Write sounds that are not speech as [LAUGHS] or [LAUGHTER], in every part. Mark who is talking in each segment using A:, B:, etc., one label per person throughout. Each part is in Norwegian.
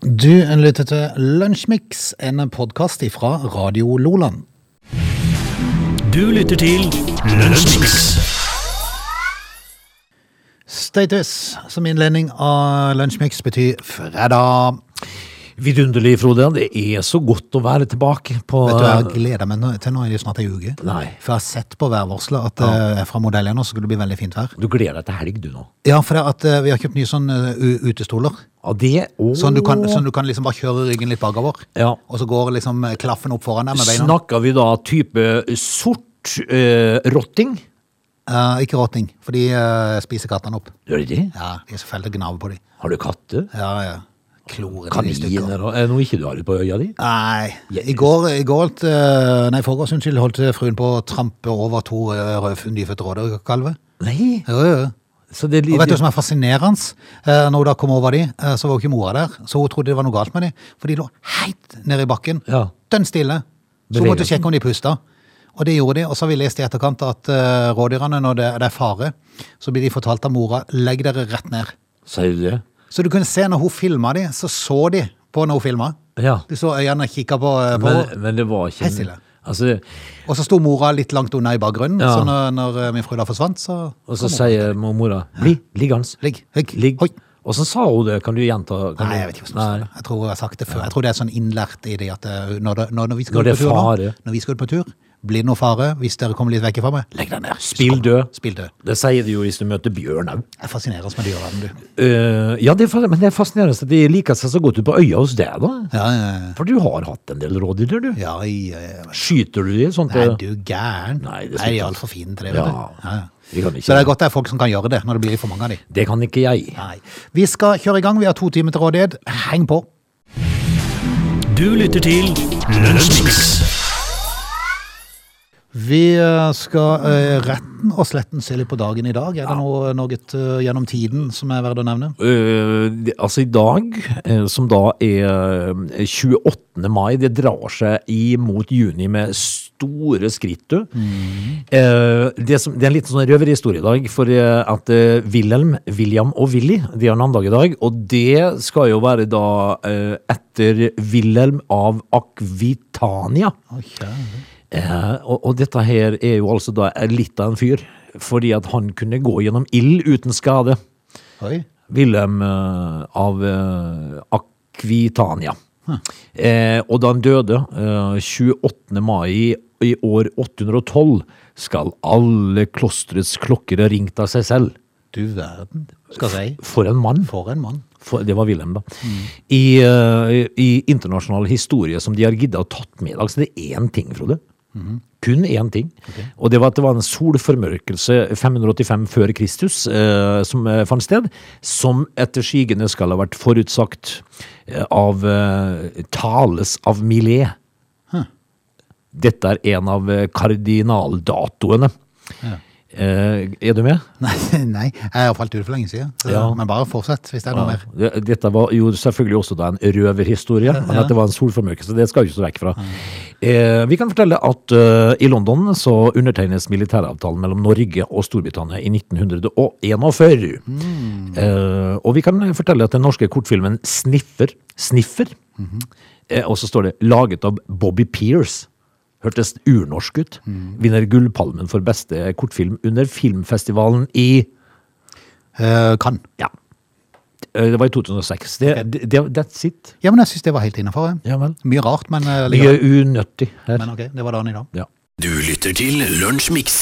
A: Du lytter til Lunsjmix, en podkast fra Radio Loland.
B: Du lytter til Lunsjmix.
A: Status som innledning av Lunsjmix betyr fredag.
B: Vidunderlig, Frode. Det er så godt å være tilbake på
A: Vet du, Jeg gleder meg nå- til nå er det snart ei uke.
B: Nei.
A: For jeg har sett på værvarselet at eh, fra modell 1 så skulle det bli veldig fint vær.
B: Du gleder deg til helg, du nå.
A: Ja, for det at eh, vi har kjøpt nye sånne eh, u- utestoler.
B: Ja, det og
A: Sånn du, kan, sånn du kan liksom bare kjøre ryggen litt bakover.
B: Ja.
A: Og så går liksom eh, klaffen opp foran deg med beina.
B: Snakker vi da type sort eh, rotting?
A: Eh, ikke råting, for de eh, spiser kattene opp.
B: Gjør de det?
A: Ja, De er så fæle til å gnave på dem.
B: Har du katter?
A: Ja, ja. Klorer de i stykker.
B: Kaniner og Eh, Er det noe ikke du har på øya di?
A: Nei. I går, i går holdt, eh, nei, i forgårs unnskyld, holdt fruen på å trampe over to eh, rød- nyfødte rådyrkalver.
B: Nei.
A: Jo, jo, jo.
B: Så det er
A: Og vet du hva
B: litt
A: som er fascinerende? Eh, Når hun da kom over de, eh, så var jo ikke mora der. Så hun trodde det var noe galt med de, for de lå helt nede i bakken.
B: Ja.
A: Dønn stille. Så hun måtte sjekke om de pusta. Og det gjorde de. Og så har vi lest i etterkant at eh, rådyrene, når det, det er fare, så blir de fortalt av mora legg dere rett ned.
B: Sier du det?
A: Så du kunne se når hun filma de, så så de på når hun filma.
B: Ja.
A: Du så øynene kikka på, eh, på
B: Men,
A: henne.
B: men det var ikke
A: Helt stille.
B: Altså,
A: Og så sto mora litt langt unna i bakgrunnen.
B: Ja.
A: Så når, når eh, min fru da forsvant, så
B: og så sier mora Bli, liggende.
A: Ligg, høgg,
B: Ligg.
A: hoi.
B: Og så sa hun det. Kan du gjenta? Kan
A: Nei,
B: du-
A: jeg vet ikke hvordan det
B: Nei.
A: er. Jeg tror jeg har sagt det før. Jeg tror det er sånn innlært i det at eh, når, det, når, når vi skal
B: Når det
A: ut på tur
B: er
A: nå,
B: fare.
A: når vi skal ut på tur, blir det noe fare hvis dere kommer litt vekk fra meg? Legg deg ned.
B: Spill død.
A: Spill død.
B: Det sier de jo hvis du møter bjørn òg.
A: Jeg fascineres med dyreverden, du.
B: ja, det er, fa- men det er fascinerende at de liker seg så godt ut på øya hos deg, da.
A: Ja, ja, ja.
B: For du har hatt en del rådyr, du.
A: ja, ja, ja.
B: Skyter du de sånt?
A: Nei,
B: eh,
A: du gæren.
B: Nei, det
A: det
B: skal
A: er
B: ikke.
A: altfor fine til det, vet
B: Ja.
A: du. Ja, ja.
B: Vi kan ikke.
A: Så det er godt det er folk som kan gjøre det, når det blir for mange av de.
B: Det kan ikke jeg.
A: Nei. Vi skal kjøre i gang. Vi har to timer til rådighet. Heng på.
B: Du lytter til Lønnsmix.
A: Vi eh, skal eh, retten og sletten se litt på dagen i dag. Er det noe, noe eh, gjennom tiden som er verdt å nevne?
B: altså, i dag, eh, som da er eh, 28. mai, det drar seg imot juni med store skritt, du. Eh, det, som, det er en liten sånn røverhistorie i dag, for eh, at eh, Wilhelm, William og Willy, de har navndag i dag, og det skal jo være da eh, etter Wilhelm av Akvitania. Eh, og, og dette her er jo altså da litt av en fyr, fordi at han kunne gå gjennom ild uten skade.
A: Oi.
B: Wilhelm eh, av eh, Akvitania. Eh, og da han døde eh, 28. mai i år 812, skal alle klosterets klokker ha ringt av seg selv.
A: Du verden. Skal jeg si.
B: For en mann!
A: For en mann.
B: For, det var Wilhelm, da. I, eh, I internasjonal historie som de har gidda å tatt med i dag, så det er én ting, Frode. Kun én ting. Og det var at det var en solformørkelse 585 før Kristus eh, som eh, fant sted, som etter sigende skal ha vært forutsagt eh, av eh, Tales av Millet. Dette er en av eh, kardinaldatoene. Eh, er du med?
A: Nei, [LAUGHS] nei. jeg har falt ut for lenge siden. Så,
B: Ja.
A: Men bare fortsett hvis det er noe mer.
B: Ja, det- Dette var jo selvfølgelig også da en røverhistorie, men at det var en solformørkelse, det skal vi ikke så vekk fra. Eh, vi kan fortelle at eh, i London så undertegnes militæravtalen mellom Norge og Storbritannia i 1941. Eh, og vi kan fortelle at den norske kortfilmen Sniffer, Sniffer, eh, og så står det laget av Bobby Pears. Hørtes urnorsk ut. Vinner Gullpalmen for beste kortfilm under filmfestivalen i
A: Eh, kan.
B: ja. Eh, Det var i 2006. Det, det, det, that's it.
A: Ja, men jeg syns det var helt innafor.
B: Ja vel.
A: Mye rart, men, eh,
B: Mye
A: likevel.
B: unøttig her.
A: men ok, det var dagen i dag.
B: Ja.
C: Du lytter til Lunsjmix.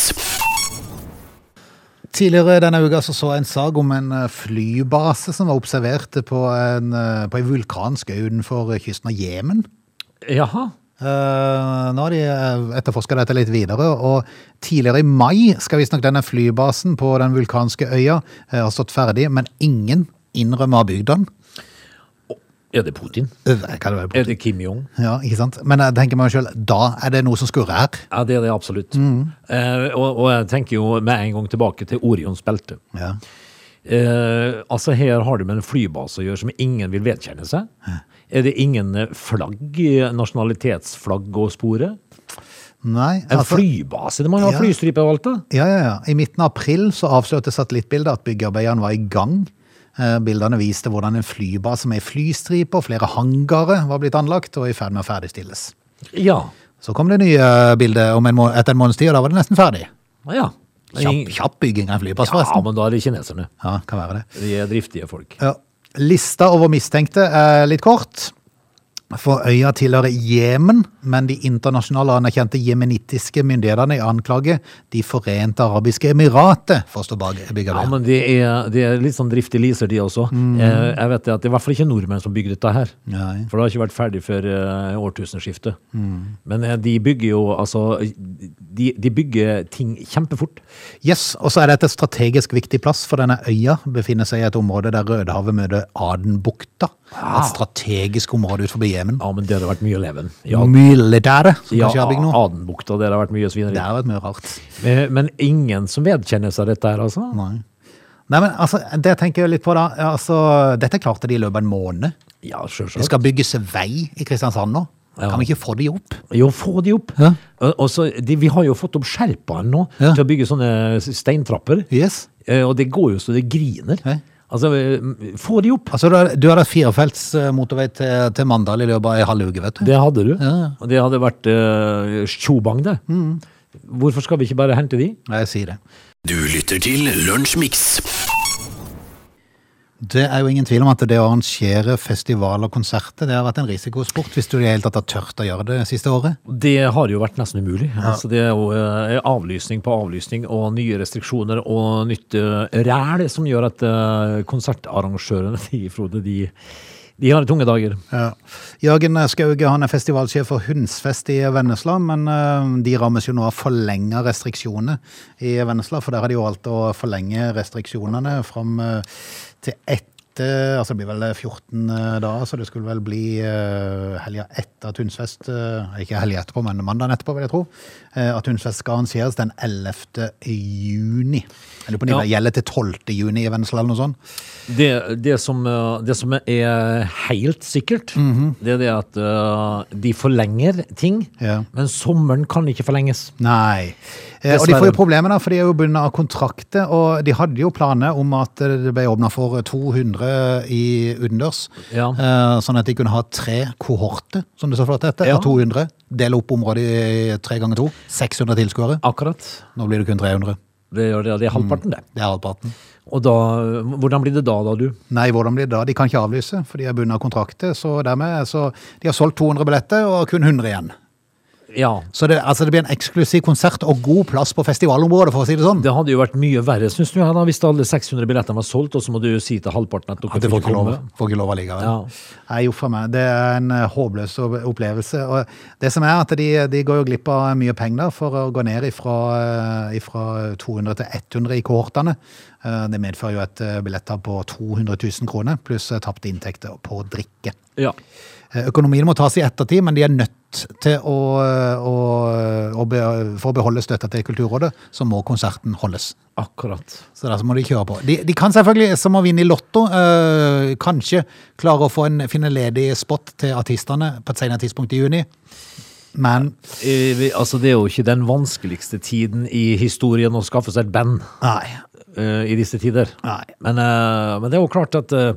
A: Tidligere denne uka så, så jeg en sag om en eh, flybase som var observert på en, eh, på en vulkansk øy utenfor kysten av Jemen.
B: Jaha.
A: Eh, nå har de eh, etterforsket dette litt videre, og tidligere i mai skal visstnok denne flybasen på den vulkanske øya eh, ha stått ferdig, men ingen innrømmer bygdene.
B: Er det Putin?
A: Kan det være
B: Er det Kim Jong?
A: Ja, ikke sant? Men jeg tenker meg selv, da er det noe som skurrer her.
B: Ja, det er det absolutt.
A: Mm.
B: Eh, og, og jeg tenker jo med en gang tilbake til Orions belte.
A: Ja.
B: Eh, altså Her har du med en flybase å gjøre som ingen vil vedkjenne seg. Er det ingen eh, flagg, eh, nasjonalitetsflagg å spore?
A: Nei,
B: En
A: altså...
B: flybase? Det må jo ha
A: Ja.
B: flystripe og alt, da.
A: Ja, ja, ja. I midten av april så avslørte satellittbildet at byggearbeidene var i gang. Eh, Bildene viste hvordan en flybase med flystriper og flere hangarer var blitt anlagt og i ferd med å ferdigstilles.
B: Ja.
A: Så kom det nye bildet om en må etter en måneds tid, og da var det nesten ferdig.
B: ja.
A: Kjapp, kjapp bygging av en flyplass,
B: Ja,
A: forresten.
B: men da er det kineserne.
A: Ja, kan være det.
B: De er driftige folk.
A: Ja. Lista over mistenkte er litt kort. For øya tilhører Jemen, men de internasjonale anerkjente jemenittiske myndighetene i anklage De forente arabiske emirater for å stå bak
B: Ja,
A: byggearbeidet.
B: men det er, det er litt sånn driftige liser, de også. Eh, Jeg vet det at det er i hvert fall ikke nordmenn som bygde dette her.
A: Mm. Nei.
B: For det har ikke vært ferdig før eh, årtusenskiftet.
A: Mm.
B: Men eh, de bygger jo altså de, de bygger ting kjempefort.
A: Yes, og så er dette et strategisk viktig plass, for denne øya befinner seg i et område der Rødehavet møter Adenbukta.
B: Ah.
A: Et strategisk område utenfor Jemen.
B: Ja, men det hadde vært mye leven. Ja,
A: Militæret, som
B: ja
A: Mm. kanskje har bygd noe.
B: Adenbukta, der har vært mye svineri.
A: Det har vært mye rart.
B: Eh, Men ingen som vedkjenner seg dette her, altså?
A: Nei. Nei, men altså, det tenker jeg litt på da. Altså, dette klarte de i løpet av en måned.
B: Ja,
A: Det
B: sjølsagt.
A: skal bygges vei i Kristiansand nå.
B: Ja.
A: Kan vi ikke få de opp?
B: Jo, få de opp.
A: Ja.
B: Og- Og så, de, vi har jo fått opp skjerpaen nå
A: Ja.
B: til å bygge sånne steintrapper.
A: Yes.
B: Eh, Og det går jo så det griner.
A: Ja.
B: Altså, eh, få de opp!
A: Altså, du har- du har hatt firefelts eh, motorvei til, til Mandal i løpet av en halv uke, vet du.
B: Det hadde du.
A: Ja. Mm.
B: Og det hadde vært eh, tjobang, det. Hvorfor skal vi ikke bare hente de?
A: Ja, Jeg sier det.
C: Du lytter til Lunsjmix.
A: Det er jo ingen tvil om at det å arrangere festivaler og konserter, det har vært en risikosport hvis du i det hele tatt har tørt å gjøre det siste året.
B: Det har jo vært nesten umulig. Altså, det er jo eh, avlysning på avlysning og nye restriksjoner og nytt eh, ræl som gjør at eh, konsertarrangørene [LAUGHS] de, Frode, de, de har tunge dager.
A: Ja. Jørgen Skauge han er festivalsjef for Hundsfest i Vennesla, men eh, de rammes jo nå av forlenga restriksjoner i Vennesla. For der har de jo valgt å forlenge restriksjonene fram eh, til etter Altså det blir vel 14 dager, så det skulle vel bli uh, helga etter at Hundsfest eh, Ikke helga etterpå, men mandagen etterpå, vil jeg tro. eh, at Hundsfest skal arrangeres den 11. juni. Eller på nivå,
B: Ja.
A: Gjelder til 12. juni i Vennesla, eller noe sånt.
B: Det, det, som, eh, det som er helt sikkert, det er det at eh, de forlenger ting,
A: Mhm. Ja.
B: men sommeren kan ikke forlenges.
A: Nei. Eh, og de
B: Dessverre.
A: får jo problemer, da, for de er jo bundet av kontrakter. Og de hadde jo planer om at eh, det ble åpna for 200 i utendørs.
B: Ja.
A: Eh, sånn at de kunne ha tre kohorter, som det så flott heter,
B: Ja.
A: av 200. Dele opp området i tre ganger to. 600 tilskuere.
B: Akkurat.
A: Nå blir det kun 300.
B: Det, gjør det, det er halvparten, det.
A: Det er halvparten.
B: Mm. Og da, hvordan blir det da, da, du?
A: Nei, hvordan blir det da? De kan ikke avlyse, for de er bundet av kontrakter. Så dermed så De har solgt 200 billetter, og kun 100 igjen.
B: Ja,
A: Så det, altså, det blir en eksklusiv konsert og god plass på festivalområdet, for å si det sånn.
B: Det hadde jo vært mye verre, syns du, da, hvis alle 600 billettene var solgt, og så må du jo si til halvparten at dere
A: At det
B: får
A: får
B: ikke
A: ikke lov,
B: komme.
A: får ikke lov allikevel.
B: Ja.
A: Nei, jo for meg. Det er en eh, håpløs o- opplevelse. Og det som er at de, de går jo glipp av mye penger for å gå ned ifra, eh, ifra 200 til 100 i kohortene. Eh, Det medfører jo et eh, billettap på 200 000 kroner, pluss eh, tapte inntekter på drikke.
B: Ja.
A: Eh, Økonomien må tas i ettertid, men de er nødt til å, å, å be, For å beholde støtta til Kulturrådet, så må konserten holdes.
B: Akkurat.
A: Så der så må de kjøre på. De, de kan selvfølgelig, som å vinne i Lotto, øh, kanskje klare å få en, finne ledig spot til artistene på et senere tidspunkt i juni. Men
B: Eh, vi- altså, det er jo ikke den vanskeligste tiden i historien å skaffe seg et band
A: nei.
B: eh, i disse tider.
A: Nei.
B: Men, eh, men det er jo klart at eh,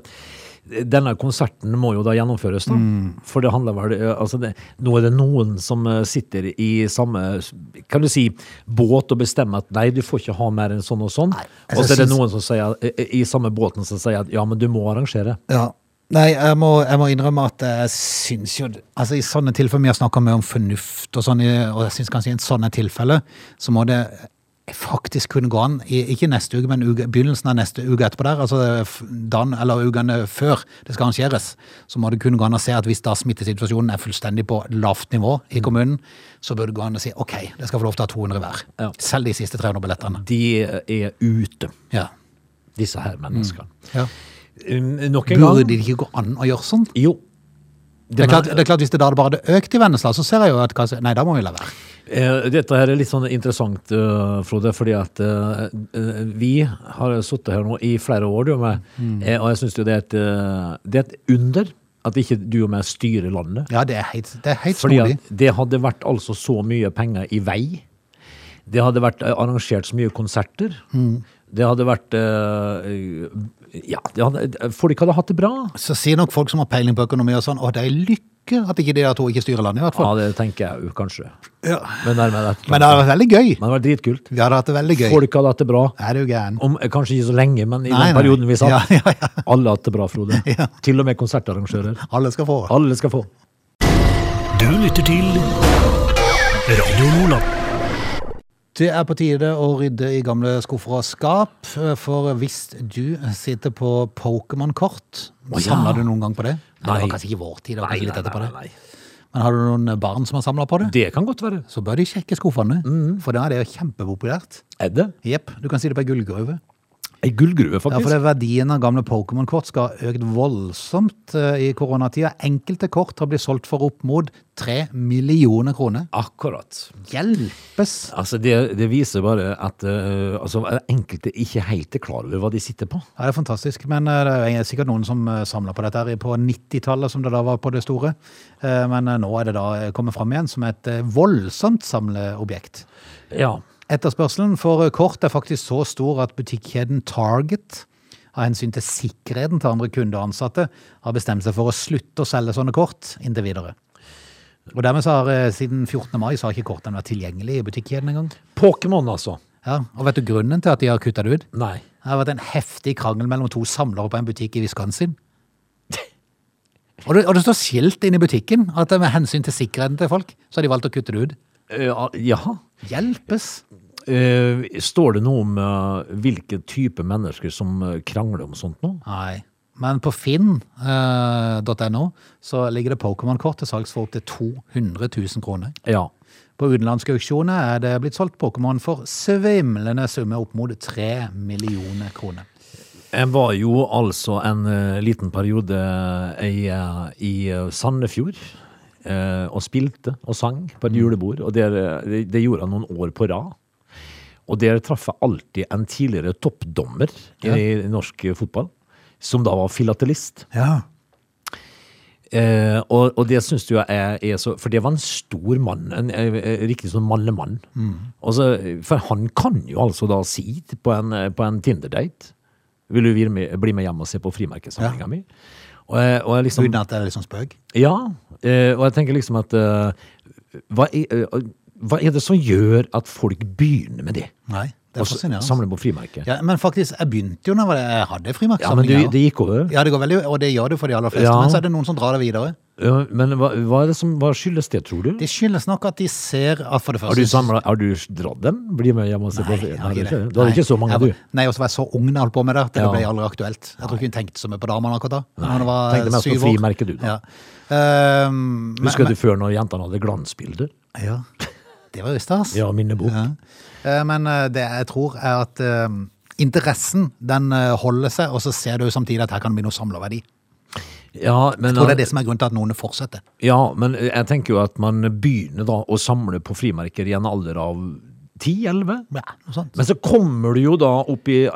B: denne konserten må jo da gjennomføres, da.
A: Mm.
B: For det handler vel eh, altså det, Nå er det noen som eh, sitter i samme kan du si, båt og bestemmer at nei, du får ikke ha mer enn sånn og sånn.
A: jeg
B: Og så er det
A: synes-
B: noen som sier, eh, i samme båten som sier at ja, men du må arrangere.
A: Ja. Nei, jeg må, jeg må innrømme at jeg syns jo Altså I sånne tilfeller vi har snakka mye om fornuft, og sånn, i- og jeg syns kanskje i en sånne tilfelle så må det faktisk kunne gå an, i- ikke neste uke, men uke, begynnelsen av neste uke etterpå der, altså f- dagen eller ukene før det skal arrangeres, så må det kunne gå an å se at hvis da smittesituasjonen er fullstendig på lavt nivå i kommunen, så bør det gå an å si OK, det skal få lov til å ha 200 hver.
B: Ja.
A: Selv de siste 300 billettene.
B: De eh, er ute,
A: Ja.
B: disse her menneskene.
A: ja.
B: Um, Nok en
A: Mm. Burde
B: gang.
A: det ikke gå an å gjøre sånn?
B: Jo.
A: Det er, klart, det er klart Hvis det da hadde bare hadde økt i Vennesla, så ser jeg jo at kanskje, Nei, da må vi la være.
B: Eh, Dette her er litt sånn interessant, eh, Frode, fordi at eh, eh, vi har sittet her nå i flere år, du og meg,
A: Mm.
B: eh, og jeg syns jo det er, et, eh, det er et under at ikke du og meg styrer landet.
A: Ja, det er helt, det er helt
B: Fordi
A: snodig.
B: at det hadde vært altså
A: Mm.
B: så mye penger i vei. Det hadde vært eh, arrangert så mye konserter. Det hadde vært eh, Ja, det hadde, folk hadde hatt det bra.
A: Så sier nok folk som har peiling på økonomi og sånn, å, det er lykke at ikke de der to ikke styrer landet, i hvert
B: Ja,
A: fall.
B: det tenker jeg jo, kanskje.
A: Ja.
B: Men det, men det,
A: Men det hadde vært veldig gøy.
B: hadde vært dritkult.
A: Vi hadde hatt det veldig gøy.
B: Folk hadde hatt det bra.
A: Er du gæren?
B: Om, eh, kanskje ikke så lenge, men i
A: Nei,
B: den
A: nei.
B: perioden vi satt.
A: Ja, ja, ja.
B: Alle hatt det bra, [LAUGHS] Frode.
A: Ja.
B: Til og med konsertarrangører.
A: Alle skal få.
B: Alle skal få.
C: Du lytter til Radio Nordland.
A: Det er på tide å rydde i gamle skuffer og skap, eh, for hvis du sitter på Pokémon-kort
B: Å, ja.
A: Samla du noen gang på det? Nei.
B: Nei.
A: Det var kanskje ikke vår tid, det var kanskje litt etterpå det.
B: nei.
A: Men har du noen barn som har samla på det,
B: Det kan godt være.
A: så bør de sjekke skuffene. For da er det jo kjempepopulært.
B: Er det?
A: Jepp, du kan si det på ei gullgruve.
B: Ei gullgruve,
A: Ja, for
B: faktisk.
A: det verdien av gamle Pokémon-kort skal ha økt voldsomt eh, i koronatida. Enkelte kort har blitt solgt for opp mot tre millioner kroner.
B: Akkurat.
A: Hjelpes!
B: Altså, det, det viser bare at eh, altså, enkelte ikke helt er klar over hva de sitter på.
A: Ja, det er fantastisk, men eh, det er sikkert noen som eh, samler på dette her i- på 90-tallet, som det da var på det store. Eh, Men eh, nå er det da eh, kommet fram igjen som et eh, voldsomt samleobjekt.
B: Ja.
A: Etterspørselen for kort er faktisk så stor at butikkjeden Target av hensyn til sikkerheten til andre kunder og ansatte har bestemt seg for å slutte å selge sånne kort inntil videre. Og dermed så har eh, siden 14. mai så har ikke kortene vært tilgjengelig i butikkjeden engang.
B: Pokémon, altså.
A: Ja, og vet du grunnen til at de har kutta det ut?
B: Nei.
A: Det har vært en heftig krangel mellom to samlere på en butikk i Wisconsin. Og det, og det står skilt inne i butikken at med hensyn til sikkerheten til folk, så har de valgt å kutte det ut.
B: Eh, ja.
A: Hjelpes!
B: Eh, står det noe om eh, hvilke type mennesker som eh, krangler om sånt nå?
A: Nei. Men på finn.no så ligger det Pokémon-kort til salgs for opptil 200 000 kroner.
B: Ja.
A: På utenlandske auksjoner er det blitt solgt Pokémon for svimlende summer opp mot 3 millioner kroner.
B: Jeg var jo altså en eh, liten periode i, eh, i eh, Sandefjord. eh, og spilte og sang på et julebord. Og der, eh, det, det gjorde han noen år på rad. Og der traff jeg alltid en tidligere toppdommer i norsk fotball, som da var filatelist.
A: Ja.
B: Eh, og, og det syns du er, er så For det var en stor mann, en, eh, eh, riktig sånn mannemann.
A: Mm.
B: Og så- for han kan jo altså da si til- på en, eh, på en Tinder-date Vil du bli med, bli med hjem og se på frimerkesamlinga mi? Og, jeg- og jeg liksom
A: Uten at det er liksom spøk.
B: Ja. Eh, og jeg tenker liksom at eh, hva, er, eh, hva er det som gjør at folk begynner med det?
A: Nei, det
B: Og
A: er
B: så
A: fascinerende.
B: Samler på frimerker? Ja,
A: Ja, men faktisk, jeg begynte jo da jeg hadde
B: men
A: frimerksamling.
B: du, det gikk over.
A: Ja, det går veldig, og det gjør det for de aller fleste,
B: Ja.
A: men så er det noen som drar det videre.
B: Ja, men hva, hva, er det som, hva skyldes det, tror du?
A: Det skyldes nok at de ser at for det
B: Har
A: første...
B: du, samlet, har du dratt dem? Bli med hjem og se på
A: Nei,
B: Nei,
A: jeg
B: du
A: har
B: har
A: ikke
B: ikke
A: det.
B: det. Du hadde
A: Nei.
B: ikke så mange,
A: Jeg
B: du.
A: var- Nei, og så var jeg så ung da jeg holdt på med det, at det
B: Ja.
A: ble aldri aktuelt. Jeg tror ikke hun tenkte så mye på damene akkurat da. Når hun var
B: Tenkte mest på
A: syv år.
B: frimerket, du, da.
A: Ja. Ehm, men-
B: Husker du før når jentene hadde glansbilder?
A: men- Ja, det var jo stas.
B: Ja, minnebok.
A: Ja. Eh, Men eh, det jeg tror er at eh, interessen, den eh, holder seg, og så ser du jo samtidig at her kan det bli noe samlerverdi.
B: Ja, men,
A: Og det er det som er grunnen til at noen fortsetter.
B: ja, men eh, jeg tenker jo at man begynner da å samle på frimerker i en alder av 10-11.
A: Ja, noe sånt.
B: Men så kommer du jo da opp i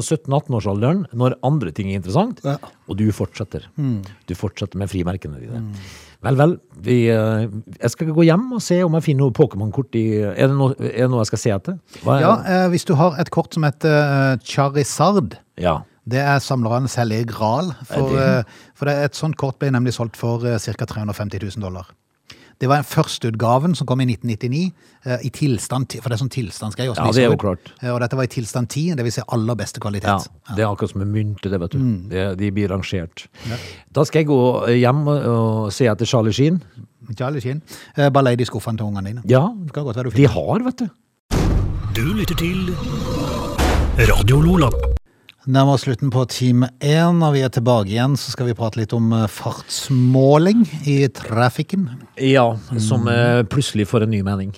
B: 16-17-18-årsalderen, når andre ting er interessant,
A: Ja. Mm.
B: og du fortsetter. Du fortsetter med frimerkene dine. Vel, vel, vi, eh, jeg skal gå hjem og se om jeg finner noe Pokémon-kort i er det, noe, er det noe jeg skal se etter? Hva er-
A: Ja, eh, hvis du har et kort som heter eh, Charizard,
B: ja.
A: det er samlerens hellige gral. For,
B: Er
A: eh, for det, et sånt kort ble nemlig solgt for eh, ca. 350 000 dollar. Det var den førsteutgaven som kom i 1999, eh, i tilstand, ti- for det er sånn tilstandsgreie. å
B: Ja,
A: spise
B: det er jo
A: ut.
B: klart.
A: Eh, Og dette var i tilstand 10, det vil si aller beste kvalitet.
B: Ja, det er akkurat som med mynter, det, vet du. Det, de blir rangert. Da skal jeg gå hjem og, og se etter Charlie Sheen.
A: Charlie Sheen. Eh, Bare lei de skuffene til ungene dine.
B: Ja,
A: Det kan godt være du
B: de
A: fikk.
B: har, vet du.
C: Du lytter til Radio Nordland.
A: Nærmer oss slutten på time 1. Når vi er tilbake igjen, så skal vi prate litt om eh, fartsmåling i trafikken. [LAUGHS]
B: Ja, som eh, plutselig får en ny mening.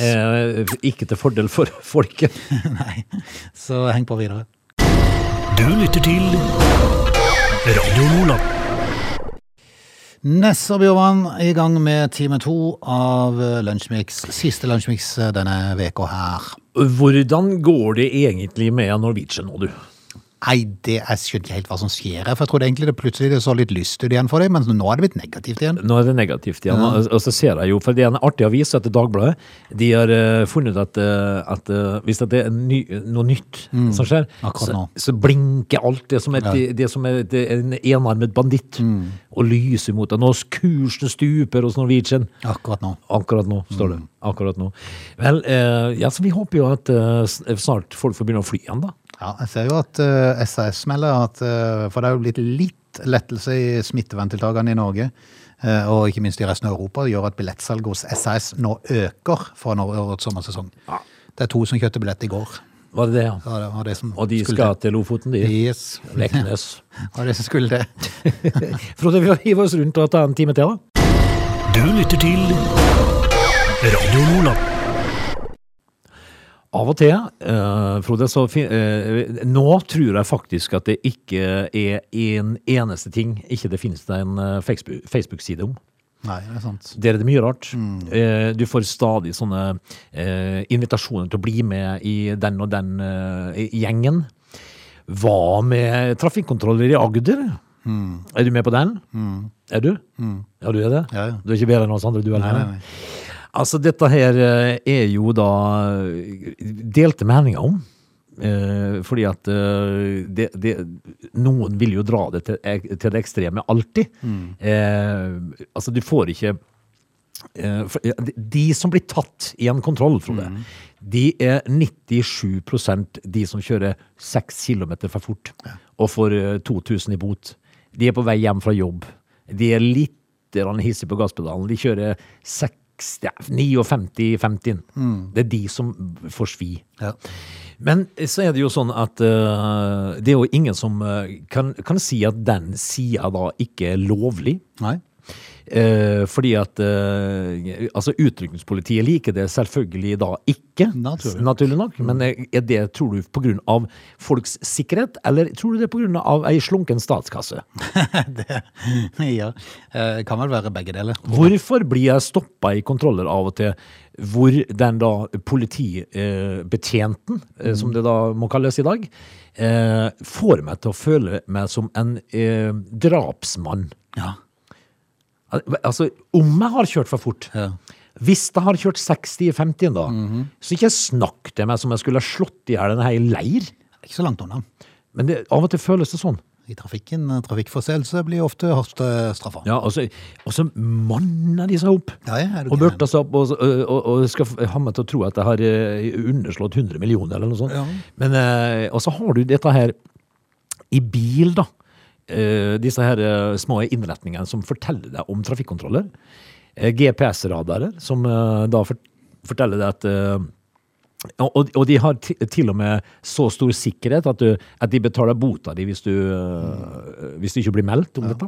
B: Eh, ikke til fordel for [LAUGHS] folket.
A: Nei, så heng på videre.
C: Du lytter til Radio Nordland.
A: Ness og Bjørvann i gang med time to av Lunsjmix. Siste Lunsjmix denne veka her.
B: Hvordan går det egentlig med Norwegian nå, du?
A: Nei, det, jeg skjønte ikke helt hva som skjer her, for jeg trodde egentlig det plutselig det så litt lyst ut igjen for dem, men nå er det blitt negativt igjen.
B: Nå er det negativt igjen. Og, og så ser jeg jo, for det er en artig avis etter Dagbladet. De har eh, funnet ut at, eh, at eh, hvis at det er ny, noe nytt som skjer,
A: Mm. Akkurat
B: så,
A: nå.
B: så blinker alt det som et, det som er et, en enarmet banditt
A: Mm.
B: og lyser mot deg. Nå kursen stuper hos Norwegian.
A: Akkurat nå.
B: Akkurat nå, står
A: Mm.
B: det. Akkurat nå. Vel, eh, ja, så vi håper jo at eh, s- snart folk får begynne å fly igjen, da.
A: Ja, jeg ser jo at eh, SAS melder at eh, For det er jo blitt litt lettelse i smitteverntiltakene i Norge. eh, og ikke minst i resten av Europa gjør at billettsalget hos SAS nå øker fra nå- årets sommersesong. Det er to som kjøpte billett i går.
B: Var det det, ja?
A: Ja, det var det som
B: Og de
A: skulle
B: skal til Lofoten, de.
A: det. Yes.
B: Leknes.
A: Og det som skulle det.
B: Frode, vi hiver oss rundt og tar en time til, da.
C: Du lytter til Radio Lola.
B: Av og til, eh, Frode, så fin eh, Nå tror jeg faktisk at det ikke er en eneste ting ikke det finnes det en eh, Facebook- Facebook-side om.
A: Nei, det er sant.
B: Der er det mye rart.
A: Mm.
B: Eh, du får stadig sånne eh, invitasjoner til å bli med i den og den eh, gjengen. Hva med trafikkontroller i Agder? Er du med på den? Er du? Ja, du er det?
A: Mm. Ja, ja.
B: Du er ikke bedre enn oss andre, du heller?
A: Nei, nei, nei.
B: Altså, dette her eh, er jo da eh, delte meninger om. Eh, fordi at eh, det, det, noen vil jo dra det til, ek- til det ekstreme alltid. Eh, altså, du får ikke eh, for, ja, de- De som blir tatt i en kontroll, Frode, de er 97 de som kjører 6 km for fort og får eh, 2000 i bot. De er på vei hjem fra jobb. De er litt grann hissige på gasspedalen. De kjører 60, ja, 59 50. Det er de som får svi.
A: Ja.
B: Men så er det jo sånn at eh, det er jo ingen som eh, kan, kan si at den sida da ikke er lovlig.
A: Nei.
B: Eh, fordi at eh, altså utrykningspolitiet liker det selvfølgelig da ikke,
A: Naturlig nok. Mm.
B: naturlig nok. Men eh, er det, tror du, på grunn av folks sikkerhet, eller tror du det er på grunn av ei slunken statskasse?
A: [LAUGHS] Det ja. Eh, kan vel være begge deler.
B: Hvorfor blir jeg stoppa i kontroller av og til, hvor den da politibetjenten,
A: Mm.
B: eh, som det da må kalles i dag, eh, får meg til å føle meg som en eh, drapsmann?
A: Ja.
B: Al- Altså, om jeg har kjørt for fort
A: Ja.
B: Hvis jeg har kjørt 60 i 50 da, så ikke snakk til meg som jeg skulle ha slått i hjel en hel leir.
A: Ikke så langt unna.
B: Men det, av og til føles det sånn.
A: I trafikken, eh, trafikkforseelse blir ofte hardt eh, straffa.
B: Ja, og så, og så manner de seg opp.
A: Ja, ja, er du
B: og
A: gæren?
B: børter seg opp og, og, og skal f- ha meg til å tro at jeg har eh, underslått 100 millioner eller noe sånt.
A: Ja.
B: Men, eh, og så har du dette her i bil, da. Eh, disse her eh, små innretningene som forteller deg om trafikkontroller. Eh, GPS-radarer som eh, da fort forteller deg at eh, og, og- og de har ti- til og med så stor sikkerhet at, du, at de betaler bota di hvis du, eh, hvis du ikke blir meldt om dette.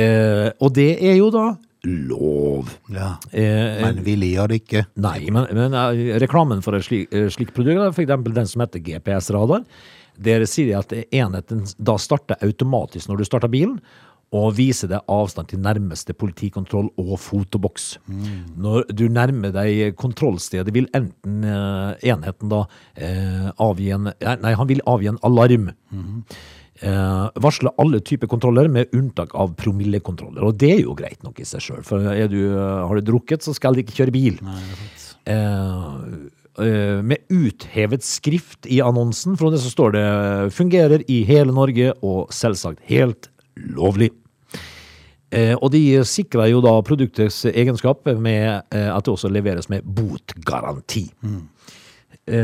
B: Eh, og det er jo da lov.
A: Ja.
B: Eh,
A: Men vi liker det ikke.
B: Nei, men, men eh, reklamen for et slik, eh, slikt produkt, er for eksempel den som heter GPS-radar, der sier de at enheten da starter automatisk når du starter bilen, og viser deg avstand til nærmeste politikontroll og fotoboks. Når du nærmer deg kontrollstedet, vil enten eh, enheten da eh, avgi en Nei, han vil avgi en alarm. Eh, varsle alle typer kontroller med unntak av promillekontroller. Og det er jo greit nok i seg sjøl, for er du, eh, har du drukket, så skal du ikke kjøre bil. Eh, eh, med uthevet skrift i annonsen, for det så står det 'fungerer i hele Norge' og selvsagt helt lovlig. Eh, og de sikrer jo da produktets egenskap med eh, at det også leveres med botgaranti. Eh,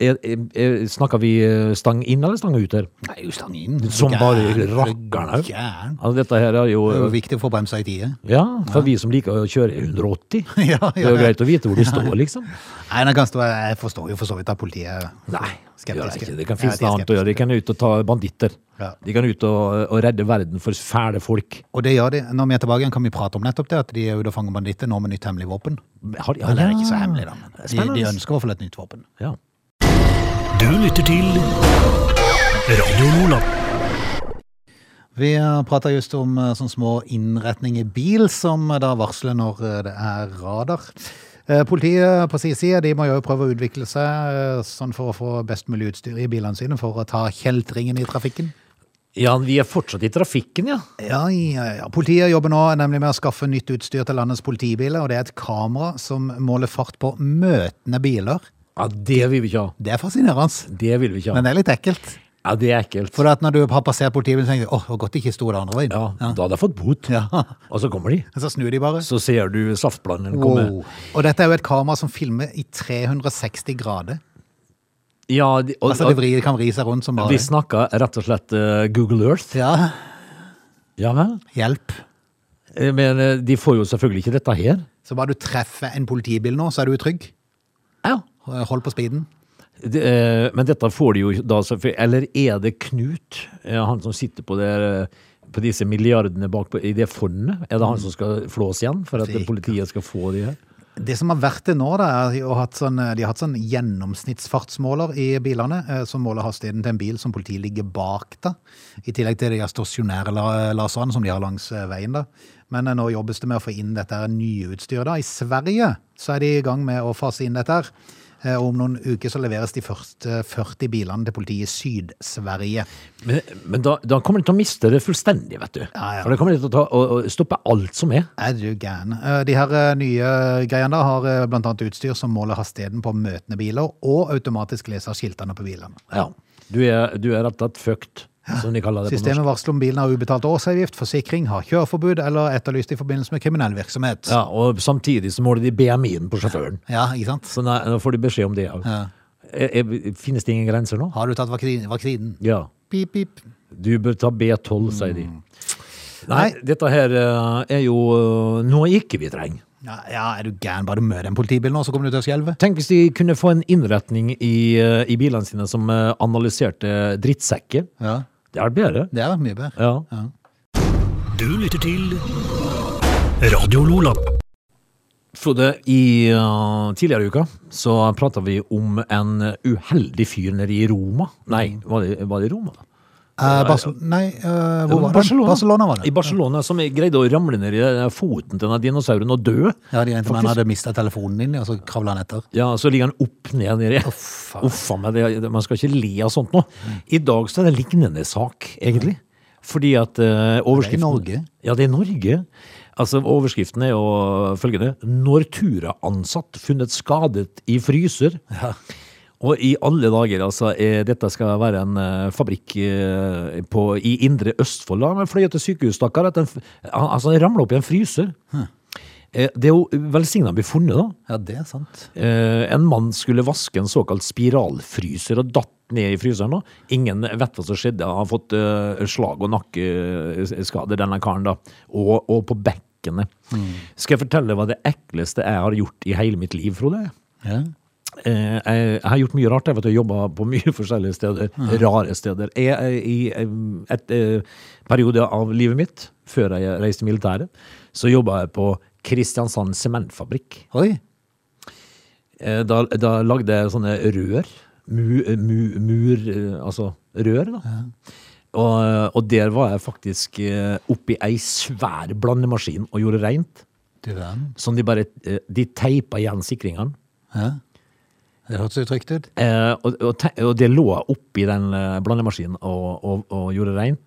B: er, er, er, snakker vi eh, stang inn eller stang ut her?
A: Nei, jo, stang inn.
B: Som
A: Gæren,
B: bare
A: du
B: rakkeren her.
A: Gæren.
B: Altså, dette her er jo
A: Det er jo viktig å få bremsa i tide.
B: Ja, for vi som liker å kjøre i 180.
A: [LAUGHS] Ja,
B: Det er jo
A: ja.
B: greit å vite hvor de står,
A: [LAUGHS]
B: liksom.
A: Nei, det kan stå, jeg forstår jo for så vidt at politiet
B: Nei, det gjør jeg
A: Skeptiske.
B: ikke. Det kan
A: Ja,
B: finnes
A: de er
B: noe annet å gjøre. De kan ut og ta banditter.
A: Ja.
B: De kan ut og, og redde verden for fæle folk.
A: Og det gjør de. Når vi er tilbake igjen, kan vi prate om nettopp det, at de er ute og fanger banditter nå med nytt hemmelig våpen.
B: Har de, Ah,
A: Eller det er ikke så hemmelig, da. men De,
B: Spennende.
A: de ønsker i hvert fall et nytt våpen.
B: Ja.
C: Du lytter til Radio Lola.
A: Vi prata just om eh, sånne små innretninger i bil som eh, da varsler når eh, det er eh, radar. Eh, Politiet på sin side de må jo prøve å utvikle seg eh, sånn for å få best mulig utstyr i bilene sine for å ta kjeltringen i trafikken.
B: Ja, vi er fortsatt i trafikken, ja.
A: Ja, ja, ja. Politiet jobber nå nemlig med å skaffe nytt utstyr til landets politibiler, og det er et kamera som måler fart på møtende biler.
B: Ja, Det vil vi ikke ha.
A: Det er fascinerende,
B: Det vil vi ikke ha.
A: men det er litt ekkelt.
B: Ja, det er ekkelt.
A: For at når du har passert politibilen, så tenker du åh, det var godt det ikke sto det andre veien.
B: ja, Da hadde jeg fått [LAUGHS] bot.
A: Ja.
B: Og så kommer de.
A: Men så snur de bare.
B: Så ser du saftblanderen komme.
A: Wow. Og dette er jo et kamera som filmer i 360 grader.
B: Ja, de, og,
A: Altså det vri, kan vri seg rundt som
B: og,
A: bare
B: vi snakka rett og slett eh, Google Earth.
A: Ja,
B: Ja vel.
A: hjelp.
B: Eh, Men eh, de får jo selvfølgelig ikke dette her.
A: Så bare du treffer en politibil nå, så er du trygg.
B: Ja.
A: Hold på speeden.
B: Det, eh, men dette får de jo da selvfølgelig Eller er det Knut, eh, han som sitter på, det, eh, på disse milliardene bak på, i det fondet? Er det han som skal flås igjen for at
A: Sikkert.
B: politiet skal få de her?
A: Det som har vært det nå, da, er at de har hatt sånn, de har hatt sånn gjennomsnittsfartsmåler i bilene, eh, som måler hastigheten til en bil som politiet ligger bak. da. I tillegg til de her stasjonære la- laserne som de har langs eh, veien. da. Men eh, nå jobbes det med å få inn dette her nye utstyret. da. I Sverige så er de i gang med å fase inn dette. her. Eh, og Om noen uker så leveres de første 40 bilene til politiet i Syd-Sverige.
B: Men, men da, da kommer de til å miste det fullstendig, vet du.
A: Ja, ja.
B: For da kommer de til å ta, å, å stoppe alt som er.
A: Er du gæren? Eh, De her eh, nye greiene da har eh, blant annet utstyr som måler hastigheten på møtende biler, og automatisk leser skiltene på bilene.
B: Ja. Du er, du er rett og slett fucked, som de kaller det på norsk.
A: Systemet varsler om bilen har ubetalt årsavgift, forsikring, har kjøreforbud eller er etterlyst i forbindelse med kriminell virksomhet.
B: Ja, og samtidig så måler de BMI-en på sjåføren.
A: Ja, ikke sant?
B: Så nei, nå får de beskjed om det òg.
A: Ja.
B: Finnes det ingen grenser nå?
A: Har du tatt vaksinen? vaksinen?
B: Ja.
A: Pip, pip.
B: Du bør ta B12, sier de. Nei,
A: Mm. Nei.
B: dette her eh, er jo eh, noe ikke vi trenger.
A: Ja, ja, er du gæren? Bare du møter en politibil nå, så kommer du til å skjelve.
B: Tenk hvis de kunne få en innretning i, eh, i bilene sine som eh, analyserte drittsekker.
A: Ja,
B: Det er bedre.
A: det er mye bedre.
B: Ja.
C: Du lytter til Radio Lola.
B: Frode, i eh, tidligere i uka så prata vi om en uheldig fyr nede i Roma. Nei, var det, var det i Roma?
A: Eh, Barcel nei, eh, hvor var det?
B: Barcelona.
A: Barcelona var det.
B: I Barcelona, som greide å ramle ned i eh, foten til denne dinosauren og dø.
A: Ja, de mente man
B: Faktisk.
A: hadde mistet telefonen din, og så kravlet han etter.
B: Ja, så ligger han opp ned nedi.
A: faen. Mm.
B: Uffa meg, det, det- man skal ikke le av sånt nå. I dag så er det en lignende sak, egentlig. Fordi at eh, overskriften
A: Norge.
B: Ja, det er Norge. Altså, overskriften er jo følgende. Nortura-ansatt funnet skadet i fryser. Og i alle dager, altså. eh, Dette skal være en eh, fabrikk eh, på, i indre Østfold. da. Han fløy til sykehus, stakkar. at den f- han- Altså, han ramla opp i en fryser. Eh, Det er jo velsigna å bli funnet, da.
A: Ja, det er sant.
B: Eh, en mann skulle vaske en såkalt spiralfryser og datt ned i fryseren. nå. Ingen vet hva som skjedde. Han har fått eh, slag og nakkeskader, denne karen, da. Og, og på bekkenet. Skal jeg fortelle hva det ekleste jeg har gjort i hele mitt liv, Frode?
A: Ja.
B: Eh, jeg, jeg har gjort mye rart. Jeg vet du, jeg jobba på mye [LAUGHS] forskjellige steder. Rare steder. Jeg, jeg, I em, et eh, periode av livet mitt, før jeg reiste i militæret, så jobba jeg på Kristiansand sementfabrikk.
A: Oi,
B: Eh, Da, da lagde jeg sånne rør. Mu, mu, mur eh, Altså rør, da. Og, eh, og der var jeg faktisk eh, oppi ei svær blandemaskin og gjorde reint.
A: du verden.
B: Som de bare eh, De teipa igjen sikringene.
A: Ja. Det hørtes jo trygt ut.
B: Eh, og, og, te, og det lå jeg oppi den eh, blandemaskinen og, og, og gjorde reint.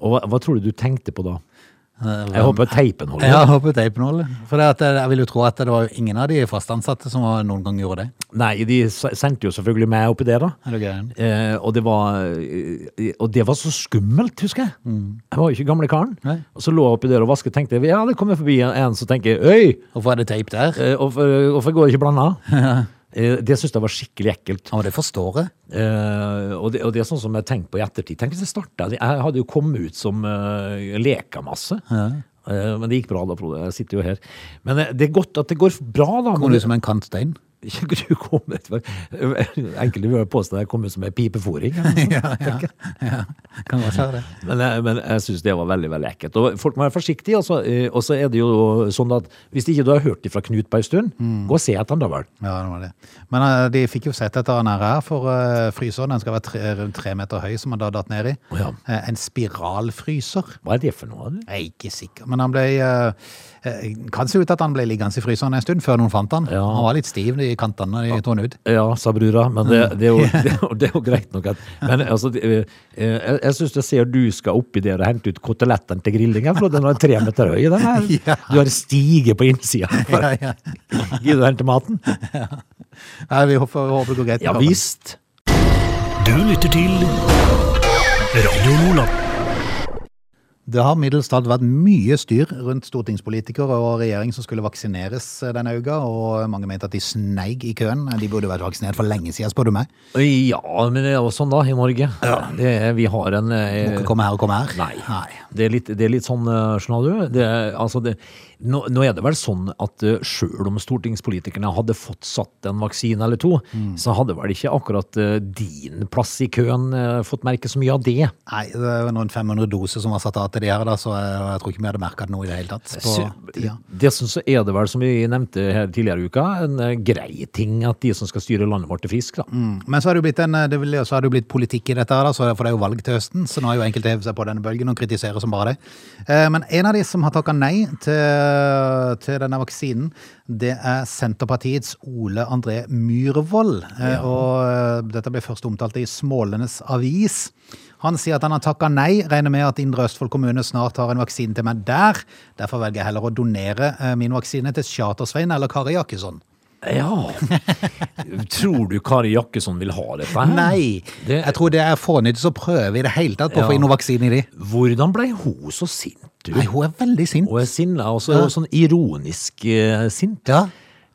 B: Og hva, hva tror du du tenkte på da? Jeg håper teipen holder.
A: Jeg har håpet teipenål. For det at eh, jeg jeg vil jo tro at det var jo ingen av de fast ansatte som var- noen gang gjorde det.
B: Nei, de s- sendte jo selvfølgelig meg oppi det, da.
A: Er du gæren?
B: Eh, og, det var, eh, og det var så skummelt, husker jeg. Jeg var jo ikke gamle karen.
A: Mm. Nei.
B: Og så lå jeg oppi der og vasket, tenkte jeg, ja, det kommer forbi en, en som tenker, øy,
A: Hvorfor er det teip der?
B: eh, hvorfor, hvorfor går det ikke blanda?
A: [LAUGHS]
B: eh, det syntes jeg var skikkelig ekkelt.
A: Ja, men det forstår jeg.
B: Eh, og, det, og det er sånn som jeg tenker på i ettertid. Tenk hvis jeg startet, jeg hadde jo kommet ut som eh, lekamasse. Eh, men det gikk bra da, Frode. Jeg sitter jo her. Men eh, det er godt at det går bra da.
A: Kommer du som en kantstein?
B: [LAUGHS] Du kom etter [LAUGHS] Enkelte vil påstå at jeg kom ut som en pipefòring.
A: [LAUGHS] [LAUGHS] ja, ja, ja. Kan godt være det.
B: Men jeg, men jeg syns det var veldig veldig ekkelt. Og folk må være forsiktige. Altså. Eh, Og så er det jo sånn at hvis ikke du har hørt det fra Knut på en stund,
A: Mm.
B: gå og se etter han da vel.
A: Ja, det var det. Men eh, de fikk jo sett etter han her, her, for eh, fryseren den skal være tre, rundt tre meter høy, som han da datt ned i.
B: Å ja.
A: Eh, en spiralfryser.
B: Hva er det for noe? du?
A: Jeg er ikke sikker, men han ble eh, eh, Kan se ut at han ble liggende i fryseren en stund før noen fant han.
B: Ja.
A: Han var litt stiv i kantene når de tok han ut.
B: Ja, sa brura, men det, det, er, jo,
A: Mm.
B: [LAUGHS] det, er jo- det er jo greit nok. At, men altså, det, eh, jeg, jeg syns jeg ser du skal oppi der og hente ut kotelettene til grillingen, for den er tre meter høy. Den her.
A: [LAUGHS] Ja.
B: Du har stige på innsida.
A: [LAUGHS] Ja, ja.
B: Gidder du å hente maten?
A: Nei, vi håper, håper det går greit.
B: Ja visst.
C: Du lytter til Radio Lola.
A: Det har middelst talt vært mye styr rundt stortingspolitikere og regjering som skulle vaksineres eh, denne uka, og mange mente at de sneig i køen. De burde vært vaksinert for lenge siden, spør du meg.
B: Ja, men det er jo sånn da, i Norge. Det, er- vi har en
A: Må
B: eh,
A: ikke komme her og komme her.
B: Nei. Det, er litt, det er litt sånn, eh, skjønner du. Det, er- altså det, nå, nå er det vel sånn at eh, selv om stortingspolitikerne hadde fått satt en vaksine eller to,
A: Mm.
B: så hadde vel ikke akkurat eh, din plass i køen eh, fått merke så mye av det.
A: Nei, det var noen 500 doser som var satt av til de her, da, så jeg, jeg tror ikke vi hadde merka det nå i det hele tatt. På
B: Så-
A: tida.
B: Dessuten så er det vel, som vi nevnte her tidligere i uka, en eh, grei ting at de som skal styre landet vårt er friske, da.
A: Mm. Men så har det jo blitt, en, det vil, så har det jo blitt politikk i dette, her da, så for det er jo valg til høsten. Så nå har jo enkelte hevet seg på denne bølgen og kritiserer som bare det. Eh, Men en av de som har takka nei til, til denne vaksinen, det er Senterpartiets Ole André Myhrvold. Eh, Og eh, dette ble først omtalt i Smålenes avis. Han sier at han har takka nei, regner med at Indre Østfold kommune snart har en vaksine til meg der. Derfor velger jeg heller å donere eh, min vaksine til Charter-Svein eller Kari Jakkesson. [LAUGHS]
B: Ja. Tror du Kari Jakkesson vil ha dette? her?
A: Nei!
B: Ah, Det-
A: jeg tror det er fånyttes å prøve i det hele tatt på å få
B: Ja.
A: inn noe vaksine i de.
B: Hvordan ble hun så sint? du?
A: Nei, hun er veldig sint.
B: Og er sinna, og så er hun sånn ironisk eh, sint.
A: Ja.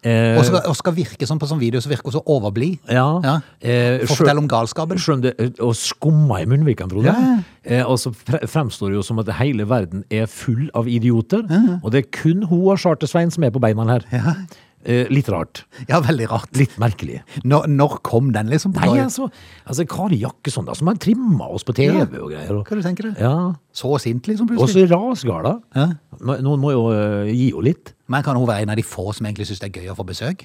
B: Eh,
A: Og skal, og skal virke sånn på sånn video, så virker hun så overblid.
B: ja.
A: Ja.
B: Eh,
A: Fortell
B: skjøn-
A: om galskapen.
B: skjønn det, eh, og skumma i munnvikene, Frode.
A: Ja.
B: Eh, og så fre- fremstår det jo som at hele verden er full av idioter, og det er kun hun og Charter-Svein som er på beina her. Eh, litt rart.
A: Ja, veldig rart.
B: Litt merkelig.
A: Når, når kom den, liksom?
B: Nei, altså, altså Kari Jakkesson, da, som har trimma oss på TV og greier. Og,
A: Hva du tenker du?
B: ja.
A: Så sint, liksom,
B: og
A: plutselig.
B: så rasgala.
A: Ja.
B: Men Noen må jo eh, gi henne litt.
A: Men kan hun være en av de få som egentlig syns det er gøy å få besøk?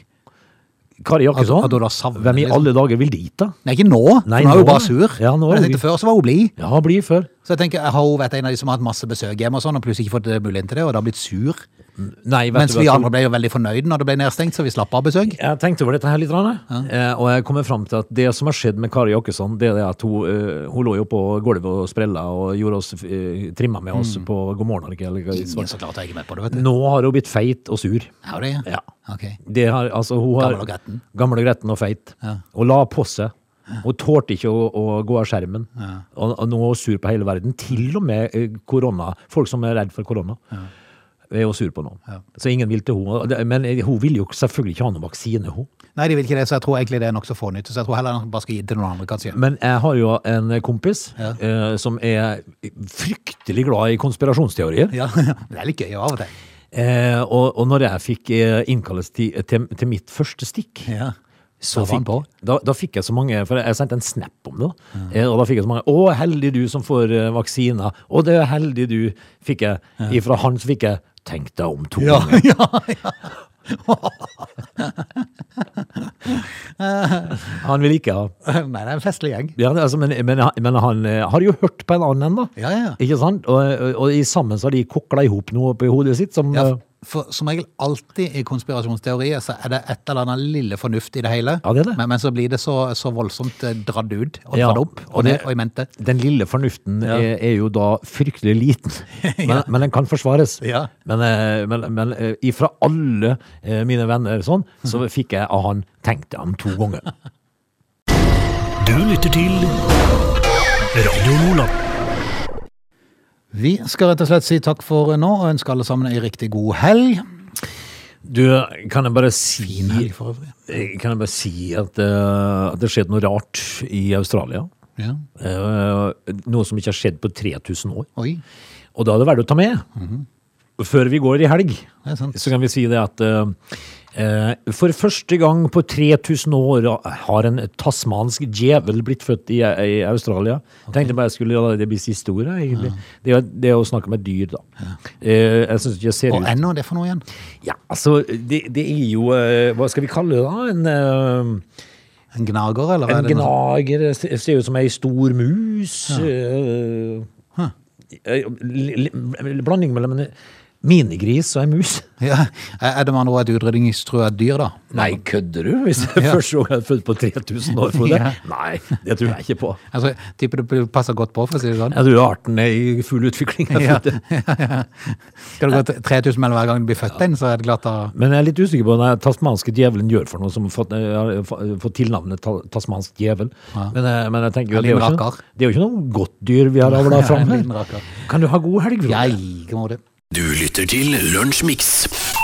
B: Kari Jakkesson,
A: At- at hun da savner,
B: hvem i
A: liksom.
B: alle dager vil dit, da?
A: Nei, ikke nå, for
B: Nei,
A: nå er hun
B: nå.
A: bare sur.
B: Ja, nå er
A: Men jeg
B: hun-
A: tenkte Før så var hun blid.
B: Ja, bli før.
A: Så jeg tenker, Har hun vært en av de som har hatt masse besøk hjemme, og sånn, og plutselig ikke fått eh, muligheten til det, og da blitt sur?
B: Nei, vet
A: Mens
B: du hva,
A: vi
B: Frode?
A: andre ble jo veldig fornøyde når det ble nedstengt, så vi slapp av besøk.
B: Jeg tenkte over dette her litt, Rane. Eh, og jeg kommer fram til at det som har skjedd med Kari Jakkesson, det er det at hun, eh, hun lå jo på gulvet og sprella og gjorde oss, eh, trimma med oss på God morgen, Norge, eller hva det
A: Ingen
B: var.
A: så klart er ikke med på det, vet du.
B: Nå har hun blitt feit og sur.
A: Er det det?
B: Ja.
A: Ok.
B: Det har, altså, hun har,
A: Gammel og gretten.
B: Gammel og gretten og feit. Hun la på seg. Hun tålte ikke å, å gå av skjermen. Og, og nå er hun sur på hele verden. Til og med eh, korona. Folk som er redd for korona. Er hun sur på nå. Så ingen vil til henne. Men eh, hun vil jo selvfølgelig ikke ha noen vaksine, hun.
A: Nei, de vil ikke det, så jeg tror egentlig det er nokså fånytt. Så jeg tror heller han bare skal gi det til noen andre, kanskje.
B: Men jeg har jo en kompis
A: Ja.
B: eh, som er fryktelig glad i konspirasjonsteorier.
A: Ja, [LAUGHS] det er litt gøy av og til.
B: Eh, og, og når jeg fikk eh, innkalles til, til, til mitt første stikk
A: Ja. Da
B: så
A: var han
B: fikk,
A: på.
B: da, da fikk jeg så mange, for jeg sendte en snap om det, da. Eh, og da fikk jeg så mange, å, heldig du som får eh, vaksina, og det er heldig du, fikk jeg, ifra han så fikk jeg, tenk deg om to
A: Ja,
B: ganger.
A: [LAUGHS] ja, ja.
B: Han vil ikke ha,
A: Nei, det er en festlig gjeng.
B: ja, altså, men, men, han- men han eh, har jo hørt på en annen da,
A: Ja, ja, ja.
B: ikke sant? Og, og, og i sammen så har de kokla ihop noe oppi hodet sitt som...
A: Ja,
B: eh,
A: for som regel alltid i konspirasjonsteorier så er det et eller annet lille fornuft i det hele.
B: Ja, det er det.
A: Men, men så blir det så, så voldsomt eh, dratt ut og
B: Ja,
A: dratt opp,
B: og
A: og, det,
B: det-
A: og i mente.
B: Den lille fornuften er, er jo da fryktelig
A: [LAUGHS]
B: liten, men, men den kan forsvares.
A: Ja.
B: Men, eh, men, men eh, ifra alle eh, mine venner sånn, så
A: Mhm.
B: fikk jeg av han tenkte han to ganger.
C: Du lytter til Radio Lola.
A: Vi skal rett og slett si takk for nå, og ønske alle sammen ei riktig god helg.
B: Du, kan jeg bare si,
A: Fin helg for øvrig.
B: kan jeg bare si at, eh, at det skjedde noe rart i Australia?
A: Ja.
B: Eh, noe som ikke har skjedd på 3000 år.
A: Oi,
B: Og da er det verdt å ta med. Før vi går i helg,
A: Mhm. det er sant.
B: så kan vi si det at eh, Eh, For første gang på 3000 år har en tasmansk djevel blitt født i, eh, i Australia. Tenkte bare jeg skulle la det bli siste ordet, egentlig. Det, er- det er å snakke med dyr, da. Eh, Jeg syns ikke jeg ser
A: Og
B: ut
A: ennå, det er for noe igjen.
B: Ja, altså, det, det er jo eh, Hva skal vi kalle det, da? En eh,
A: En gnager, eller? er
B: en
A: det noe-
B: gnager det ser- ser ut som ei stor mus. eh, eh, li- li- Blanding mellom en minigris og ei mus.
A: Ja. Er det med andre ord et utrydningstrua dyr, da?
B: Nei, kødder du? Hvis
A: [LAUGHS]
B: jeg først så jeg født på 3000 år for det? Nei, det tror jeg ikke på.
A: Altså, Tipper du passer godt på, for å si det sånn.
B: Jeg tror arten er i full utvikling.
A: [LAUGHS]
B: jeg
A: Ja.
B: tror det.
A: Skal du gå til 3000 mellom hver gang du blir født inn, så er det klart da
B: Men jeg er litt usikker på hva den tasmanske djevelen gjør for noe som har fått, eh, har fått fått tilnavnet ta- tasmansk djevel. Men, eh, men jeg tenker jo,
A: En
B: det er jo,
A: liten
B: ikke,
A: rakker.
B: det er jo ikke noe godt dyr vi har avla fram
A: En
B: her.
A: liten rakker.
B: Kan du ha god helg, Frode?
A: Ja, i like måte.
C: Du lytter til Lunsjmix.